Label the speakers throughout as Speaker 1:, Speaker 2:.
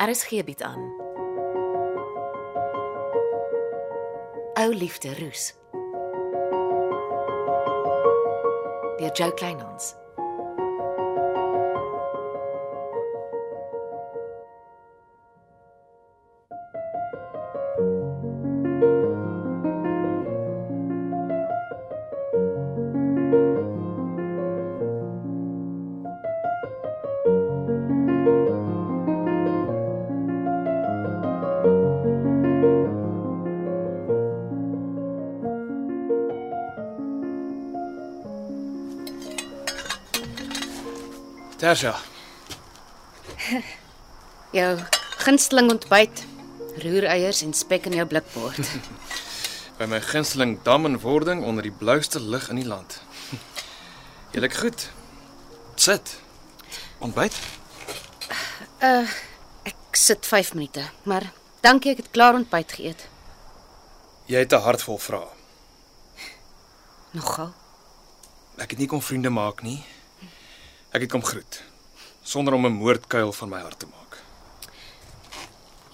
Speaker 1: RSG bied Er aan. Ou liefde roes. Deur Jo Kleinhans.
Speaker 2: Tersia,
Speaker 3: Jou gunsteling ontbyt, roereiers en spek in jou blikbord.
Speaker 2: by my gunsteling dam in wording onder die blouste lig in die land. Julle goed. Sit. Ontbyt?
Speaker 3: Ek sit 5 minute, maar dankie ek het klaar ontbyt geëet.
Speaker 2: Jy het 'n hart vol vrae.
Speaker 3: Nogal.
Speaker 2: Ek het nie kom vriende maak nie. Ek het kom groet sonder om 'n moordkuil van my hart te maak.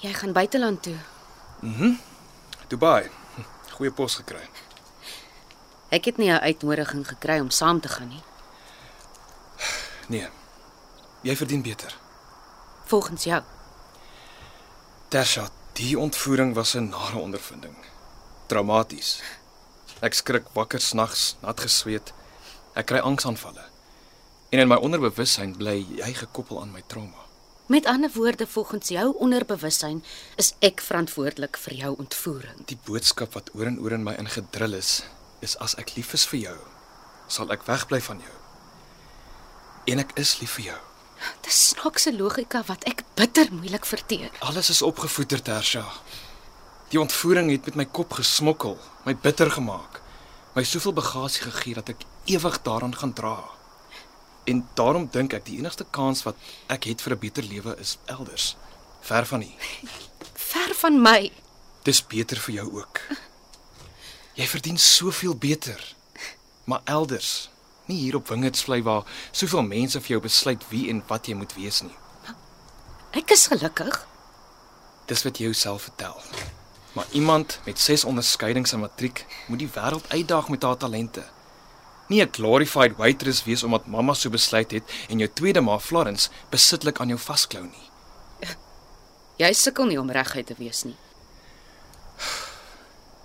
Speaker 3: Jy gaan buiteland toe.
Speaker 2: Dubai. Goeie pos gekry.
Speaker 3: Ek het nie 'n uitnodiging gekry om saam te gaan nie.
Speaker 2: Nee. Jy verdien beter.
Speaker 3: Volgens jou.
Speaker 2: Tersia, die ontvoering was 'n nare ondervinding. Traumaties. Ek skrik wakker snags, nat gesweet. Ek kry angsaanvalle. En in my onderbewussyn bly jy gekoppel aan my trauma.
Speaker 3: Met ander woorde, volgens jou onderbewussyn is ek verantwoordelik vir jou ontvoering.
Speaker 2: Die boodskap wat oor en oor in my ingedrul is, is as ek lief is vir jou, sal ek wegbly van jou. En ek is lief vir jou.
Speaker 3: Dis snaakse logika wat ek bitter moeilik verteer.
Speaker 2: Alles is opgevoeter, Tersia. Die ontvoering het met my kop gesmokkel, my bitter gemaak. My soveel bagasie gegee dat ek ewig daaraan gaan dra. En daarom dink ek die enigste kans wat ek het vir 'n beter lewe is elders, ver van hier.
Speaker 3: Ver van my.
Speaker 2: Dis beter vir jou ook. Jy verdien soveel beter. Maar elders, nie hier op Wingerdvlei waar soveel mense vir jou besluit wie en wat jy moet wees nie.
Speaker 3: Ek is gelukkig.
Speaker 2: Dis wat jy jouself vertel. Maar iemand met 6 onderskeidings in matriek moet die wêreld uitdaag met haar talente. Nie 'n glorified waitress wees omdat mamma so besluit het en jou tweede ma Florence besitlik aan jou vasklou nie.
Speaker 3: Jy sukkel nie om reguit te wees nie.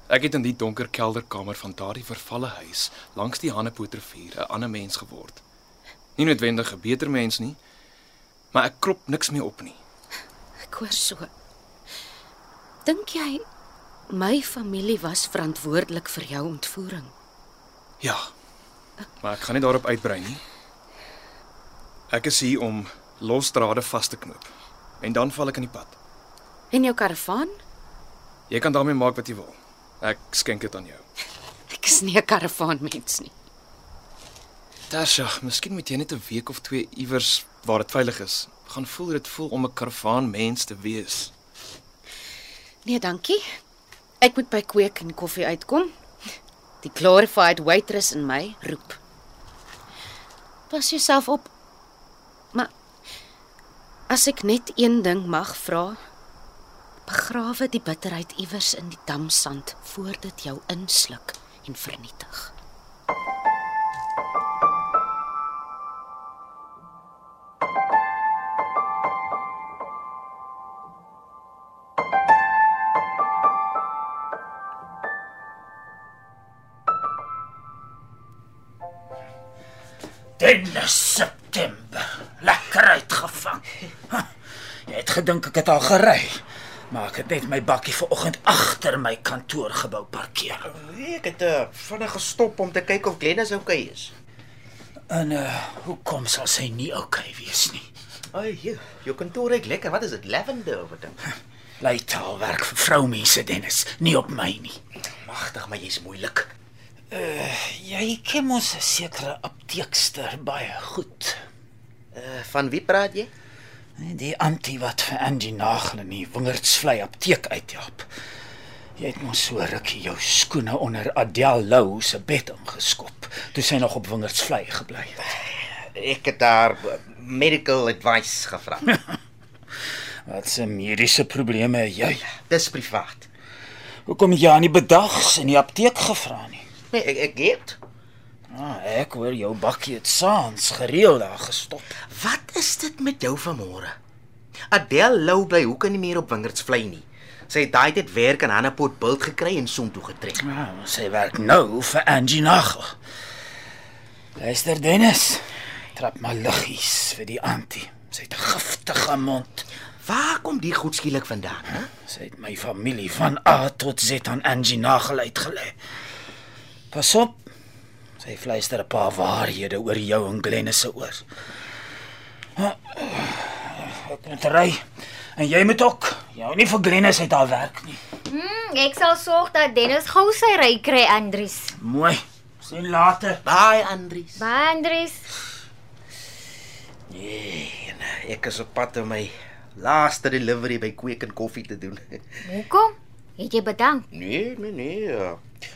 Speaker 2: Ek het in die donker kelderkamer van daardie vervalle huis langs die Hanepoetrivier 'n ander mens geword. Nie noodwendig 'n beter mens nie, maar ek krop niks meer op nie.
Speaker 3: Ek hoor so. Dink jy my familie was verantwoordelik vir jou ontvoering?
Speaker 2: Ja. Maar ek gaan nie daarop uitbrei nie. Ek is hier om losdrade vas te knoop en dan val ek in die pad.
Speaker 3: En jou karavaan?
Speaker 2: Jy kan daarmee maak wat jy wil. Ek skenk dit aan jou.
Speaker 3: Ek is nie 'n karavaanmens nie.
Speaker 2: Tasha, miskien moet jy net 'n week of twee iewers waar dit veilig is, gaan voel hoe dit voel om 'n karavaan mens te wees.
Speaker 3: Nee, dankie. Ek moet by Kweek en koffie uitkom. Die glorified waitress in my roep. Pas jouself op. Maar as ek net een ding mag vra, begrawe die bitterheid iewers in die damsand voor dit jou insluk en vernietig.
Speaker 4: Dennis September. Lekker uitgevang. Ha, Jy het gedink ek het al gery, maar ek het net my bakkie vanoggend agter my kantoorgebou parkeer.
Speaker 5: Nee, ek het uh, vinnig gestop om te kyk of Glennis oukei okay is.
Speaker 4: En uh, hoekom sal sy nie okay wees nie?
Speaker 5: Ai, jy, jou kantoor reuk lekker. Wat is dit? Lavender of wat dan?
Speaker 4: Lytaal werk vir vroumense Dennis, nie op my nie.
Speaker 5: Magtig, maar jy's moeilik.
Speaker 4: Jy ken ons 'n sekere apteekster baie goed.
Speaker 5: Uh, van wie praat jy?
Speaker 4: Die antie wat vir Angie Nagel in die Wingerdsvlei apteek uithelp. Jy het mos so rukkie jou skoene onder Adel Lou se bed ingeskop toe sy nog op Wingerdsvlei gebly het.
Speaker 5: eh, Ek het daar medical advice gevra.
Speaker 4: Wat se mediese probleme het jy?
Speaker 5: Dis privaat.
Speaker 4: Hoekom het jy aan die bedags in die apteek gevra nie?
Speaker 5: Nee, ek ek weet.
Speaker 4: Ah, ek hoor jou bakkie het saans gereeld daar gestop.
Speaker 5: Wat is dit met jou vanmôre? Adel Lou bly hoekom nie meer op Wingerdsvlei nie. Sy het daai tyd werk aan Hannapot bult gekry en son toe getrek.
Speaker 4: Ah, sy werk nou vir Angie Nagel. Luister Dennis, trap maar liggies vir die antie. Sy het 'n giftige mond.
Speaker 5: Waar kom die goed skielik vandaan, hè?
Speaker 4: Sy het my familie van A tot Z aan Angie Nagel uitgelê. Pas op. Sy fluister 'n paar waarhede oor jou en Glennis se oor. Ek moet ry. En jy moet ook. Jou nie vir Glennis uit haar werk nie.
Speaker 6: Hmm, ek sal sorg dat Dennis gou sy ry kry, Andries.
Speaker 4: Mooi. Sien later.
Speaker 5: Baie Andries.
Speaker 6: Baie Andries.
Speaker 5: Nee, nee, ek is op pad om my laaste delivery by Kweek en Koffie te doen.
Speaker 6: Hoekom? Het jy bedank?
Speaker 5: Nee, nee, nee. ja.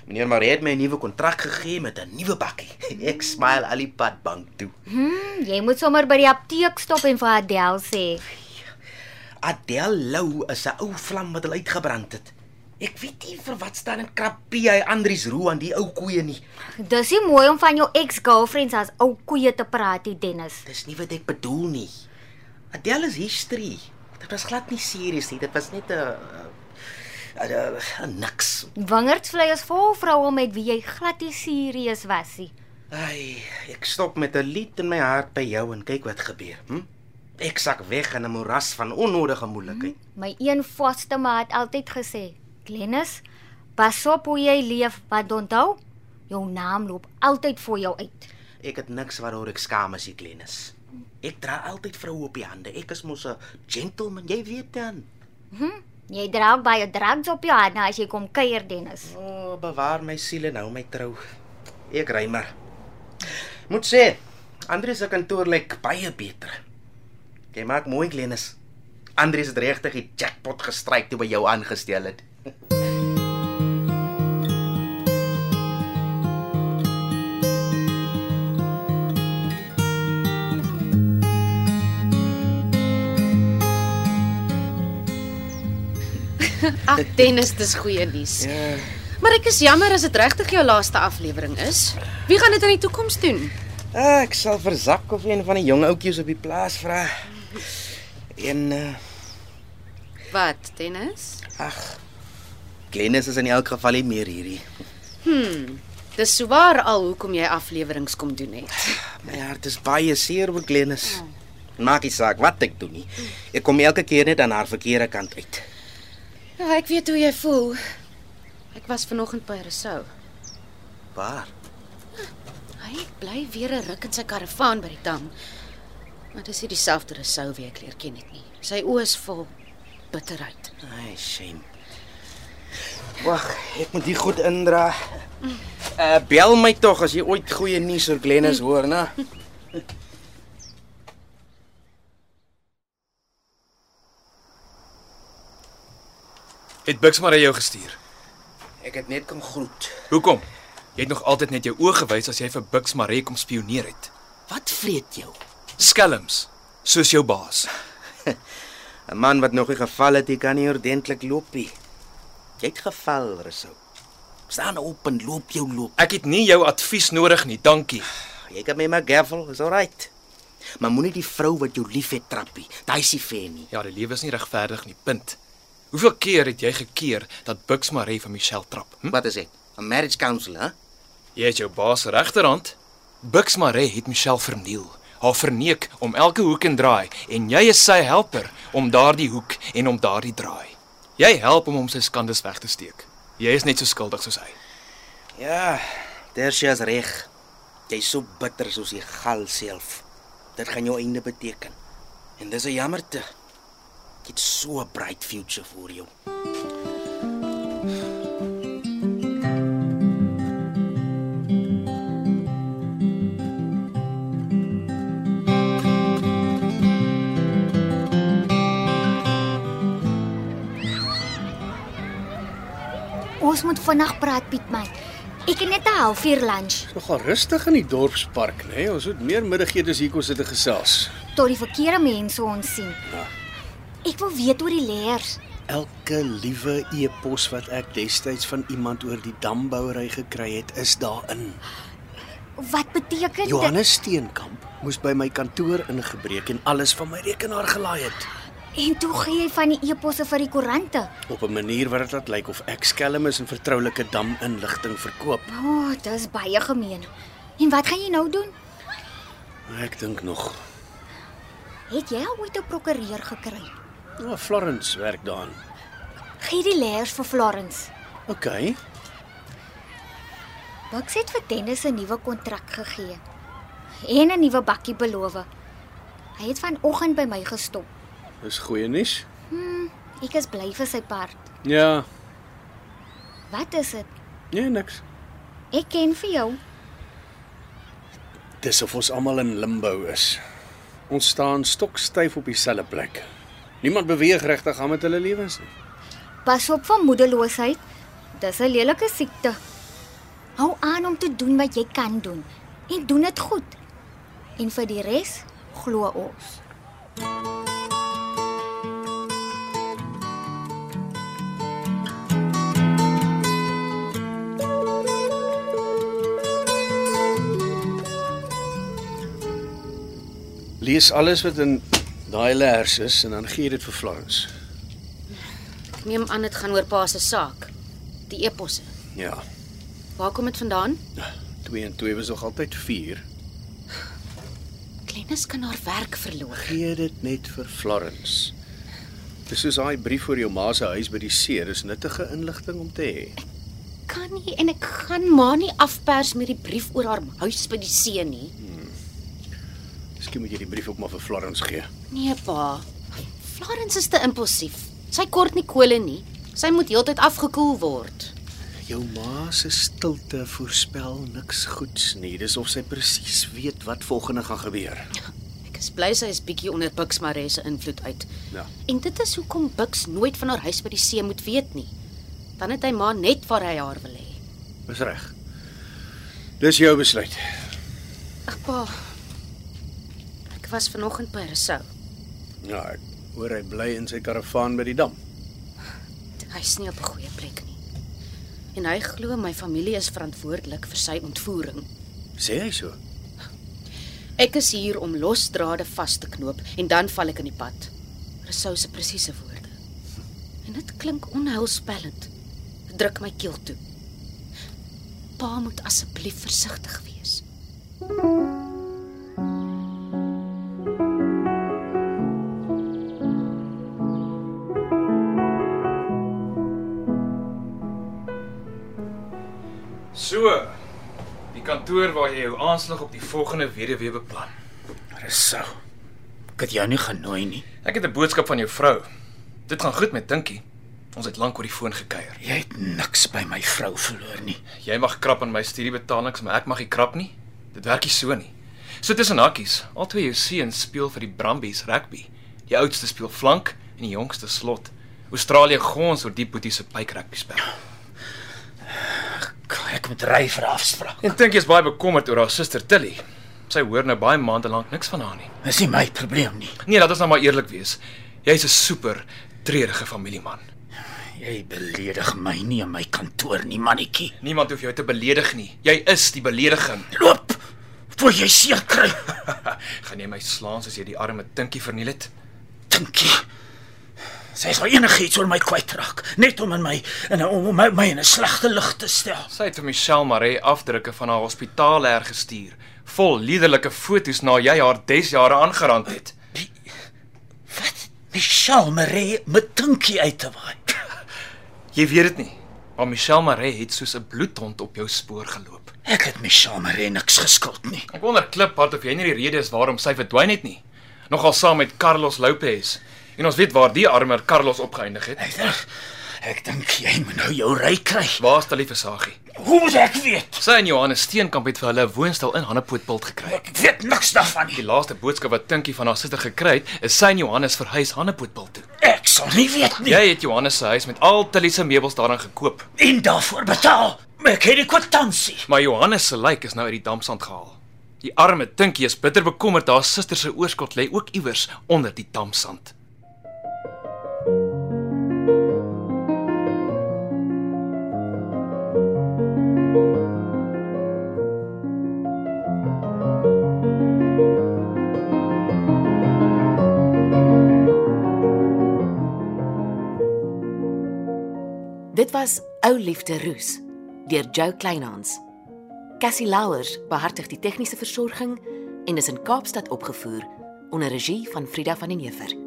Speaker 5: Meneer Marie het my 'n nuwe kontrak gegee met 'n nuwe bakkie. Ek smile al die pad bank toe.
Speaker 6: Hmm, jy moet sommer by die apteek stop en vir Adel sê.
Speaker 5: Adel Lou is 'n ou vlam wat hulle uitgebrand het. Ek weet nie vir wat staan in krappie hy Andries Roo aan die ou koeie nie.
Speaker 6: Dis nie mooi om van jou ex-girlfriends as ou koeie te praat, nie, Dennis.
Speaker 5: Dis nie wat ek bedoel nie. Adel is history. Dit was glad nie serieus nie. Dit was net 'n 'n- 'n- 'n niks.
Speaker 6: Wingerdsvlei is vol vroue met wie jy glad nie serieus was nie.
Speaker 5: Ai, ek stop met 'n lied in my hart by jou en kyk wat gebeur. Hm? Ek sak weg in 'n moeras van onnodige moeilikheid.
Speaker 6: My een vaste maat het altyd gesê, "Glennis, pas op hoe jy leef, want onthou, jou naam loop altyd voor jou uit."
Speaker 5: Ek het niks waaroor ek skaam as ek klein is. Ek dra altyd vroue op die hande. Ek is mos 'n gentleman, jy weet dan.
Speaker 6: Jy dra ook baie drugs op jou hande as jy kom kuier, Dennis.
Speaker 5: O, oh, bewaar my siel en hou my trou. Ek ry maar. Moet sê, Andrius se kantoor lyk baie beter. Jy maak mooi kleines. Andrius het regtig die jackpot gestryk toe by jou aangestel het.
Speaker 3: Ag, Dennis, dis goeie nuus.
Speaker 5: Ja.
Speaker 3: Maar ek is jammer as dit regtig jou laaste aflewering is. Wie gaan dit in die toekoms doen?
Speaker 5: Ah, ek sal vir Zak of een van die jong ouetjies op die plaas vra. En uh,
Speaker 3: Wat, Dennis?
Speaker 5: ag, Glenis is in elk geval nie meer hierdie.
Speaker 3: Dis swaar al hoekom jy afleweringe kom doen het.
Speaker 5: My hart is baie seer oor Glenis. Maak nie saak wat ek doen nie. Ek kom elke keer net aan haar verkeerde kant uit.
Speaker 3: Ja, ek weet hoe jy voel. Ek was vanoggend by Resou.
Speaker 5: Waar?
Speaker 3: Hy bly weer 'n ruk in sy karavaan by die dam. Maar dis nie dieselfde Resou wie ek leer ken het nie. Sy oë is vol bitterheid.
Speaker 5: Ai, shame. Wag, ek moet die goed indra. Uh bel my tog as jy ooit goeie nuus oor Glenis hoor, né?
Speaker 2: Het Bux maar hy jou gestuur.
Speaker 5: Ek het net kom groet.
Speaker 2: Hoekom? Jy het nog altyd net jou oë gewys as jy vir Bux Maree kom spioneer het.
Speaker 5: Wat vreet jou?
Speaker 2: Skelms, soos jou baas.
Speaker 5: 'n Man wat nog nie geval het, hy kan nie ordentlik loop nie. Jy het geval, Resou. Staan op en loop jou loop.
Speaker 2: Ek het nie jou advies nodig nie, dankie.
Speaker 5: Jy kan my maar gaffel, is alright. Maar moenie die vrou wat jou liefhet trappie. Daai is nie fair nie.
Speaker 2: Ja, die lewe is nie regverdig nie, punt. Hoeveel keer het jy gekeer dat Bux Maree vir Michelle trap? Hm?
Speaker 5: Wat is dit? 'n Marriage counselor, hè?
Speaker 2: Jy is jou baas se regterhand. Bux Maree het Michelle verniel, haar verneek om elke hoek en draai en jy is sy helper om daardie hoek en om daardie draai. Jy help hom om sy skandes weg te steek. Jy is net so skuldig soos hy.
Speaker 5: Ja, Tersia's reg. Jy's so bitter soos die gal self. Dit gaan jou einde beteken. En dis 'n jammerte. Jy het so 'n bright future voor jou.
Speaker 6: Ons moet vinnig praat, Piet man. Ek het net 'n halfuur lunch
Speaker 7: Nogal rustig in die dorpspark, né? Nee? Ons het meer middagete as hier kom sit en gesels.
Speaker 6: tot die verkeerde mense ons sien. Ek wil weet oor die leers.
Speaker 7: Elke liewe e-pos wat ek destyds van iemand oor die dambouery gekry het, is daarin.
Speaker 6: Wat beteken dit?
Speaker 7: Johannes Steenkamp moes by my kantoor ingebreek en alles van my rekenaar gelaai het.
Speaker 6: En toe gee jy van die eposse vir die koerante.
Speaker 7: Op 'n manier wat dit laat lyk of ek skelm is en vertroulike dam-inligting verkoop.
Speaker 6: O, oh, dis baie gemeen. En wat gaan jy nou doen?
Speaker 7: Ek dink nog.
Speaker 6: Het jy al ooit 'n prokureur gekry?
Speaker 7: Ja, Florence werk daaraan.
Speaker 6: Gee die leers vir Florence.
Speaker 7: OK.
Speaker 6: Bucks het vir Dennis 'n nuwe kontrak gegee en 'n nuwe bakkie beloof. Hy het vanoggend by my gestop.
Speaker 7: Dis goeie nuus.
Speaker 6: Ek is bly vir sy part.
Speaker 7: Ja,
Speaker 6: Wat is dit?
Speaker 7: nee niks.
Speaker 6: Ek ken vir jou.
Speaker 7: Dis of ons almal in limbo is. Ons staan stokstyf op dieselfde plek. Niemand beweeg regtig aan met hulle lewens nie.
Speaker 6: Pas op vir moedeloosheid. Dis 'n lelike siekte. Hou aan om te doen wat jy kan doen en doen dit goed. En vir die res glo ons.
Speaker 7: Lees alles wat in daai lers is en dan gee dit vir Florence.
Speaker 3: Ek neem aan dit gaan oor pa se saak. Die eposse.
Speaker 7: Ja.
Speaker 3: Waar kom dit vandaan?
Speaker 7: 2 en 2 was nog altyd 4.
Speaker 3: Glennis kan haar werk verloor.
Speaker 7: Gee dit net vir Florence. Dis soos daai brief vir jou ma se huis by die see, dis nuttige inligting om te hê.
Speaker 3: Kan nie en ek gaan maar nie afpers met die brief oor haar huis by die see nie.
Speaker 7: Miskien moet jy die brief ook maar vir Florence gee.
Speaker 3: Nee pa. Florence is te impulsief. Sy kort nie kole nie. Sy moet heeltyd afgekoel word.
Speaker 7: Jou ma se stilte voorspel niks goeds nie. Dis of sy presies weet wat volgende gaan gebeur.
Speaker 3: Ek is bly sy is bietjie onder Bux Maree se invloed uit.
Speaker 7: Ja.
Speaker 3: En dit is hoekom Bux nooit van haar huis by die see moet weet nie. Dan het hy maar net waar hy haar wil hê.
Speaker 7: Dis reg. Dis jou besluit.
Speaker 3: Ag pa. Ek was vanoggend by Resou.
Speaker 7: Ja, ek hoor hy bly in sy karavaan by die dam.
Speaker 3: Hy's nie op 'n goeie plek nie. En hy glo my familie is verantwoordelik vir sy ontvoering.
Speaker 7: Sê hy so?
Speaker 3: Ek is hier om losdrade vas te knoop en dan val ek in die pad. Resou se presiese woorde. En dit klink onheilspellend. Dit druk my keel toe. Pa moet asseblief versigtig wees.
Speaker 2: So, die kantoor waar jy jou aanslag op die volgende weduwee beplan.
Speaker 4: Resou. Ek het jou nie genooi nie.
Speaker 2: Ek het 'n boodskap van jou vrou. Dit gaan goed met Dinkie. Ons het lank oor die foon gekuier.
Speaker 4: Jy het niks by my vrou verloor nie.
Speaker 2: Jy mag krap aan my studiebetalings, maar ek mag nie krap nie. Dit werk nie so nie. So tussen hakkies, albei jou seuns speel vir die Brumbies rugby. Die oudste speel flank en die jongste slot. Australië gons oor die boetie se pyk rugby spel.
Speaker 4: Ek moet ry vir 'n afspraak.
Speaker 2: En dink jy's baie bekommerd oor haar suster Tilly. Sy hoor nou baie maande lank niks van haar nie.
Speaker 4: Dis nie my probleem nie.
Speaker 2: Nee, laat ons nou maar eerlik wees. Jy's 'n super treurige familieman.
Speaker 4: Jy beledig my nie in my kantoor nie, mannetjie.
Speaker 2: Niemand hoef jou te beledig nie. Jy is die belediging.
Speaker 4: Loop. Voor jy seer kry.
Speaker 2: Gaan jy my slaan soos jy die arme Tinkie verniel het?
Speaker 4: Dankie. Sy sal enigiets oor my kwytraak, net om in my in 'n om my, my in 'n slegte lig te stel.
Speaker 2: Sy het vir Michelle Maree afdrukke van haar hospitaal hergestuur, vol liderlike foto's na jy haar desjare aangerand het.
Speaker 4: Wat? Michelle Maree met Tinkie uit te waai.
Speaker 2: Jy weet dit nie, maar Michelle Maree het soos 'n bloedhond op jou spoor geloop.
Speaker 4: Ek het Michelle Maree niks geskuld nie.
Speaker 2: Ek wonder kliphard of jy nie die rede is waarom sy verdwyn het nie. Nogal saam met Carlos Lopez. En ons weet waar die armer Carlos opgeëindig het.
Speaker 4: Ek, ek dink jy moet nou jou ry kry.
Speaker 2: Waar's Talie Versagie?
Speaker 4: Hoe moet ek weet?
Speaker 2: Sy en Johannes Steenkamp het vir hulle 'n woonstel in Hanepootpult gekry.
Speaker 4: Ek weet niks daarvan
Speaker 2: Die
Speaker 4: nie.
Speaker 2: laaste boodskap wat Tinkie van haar sister gekry het, is sy en Johannes verhuis Hanepootpult toe.
Speaker 4: Ek sal nie weet nie.
Speaker 2: Jy het Johannes se huis met al Talie se meubels daarin gekoop.
Speaker 4: En daarvoor betaal. Maar ek het die kwitansie.
Speaker 2: Maar Johannes se lijk is nou uit die dampsand gehaal. Die arme Tinkie is bitter bekommerd haar suster se oorskot lê ook iewers onder die dampsand.
Speaker 1: Dit was Ou Liefde Roos deur Jo Kleinhans. Cassie Louwers behartig die tegniese versorging en is in Kaapstad opgevoer onder regie van Frida van den Heever.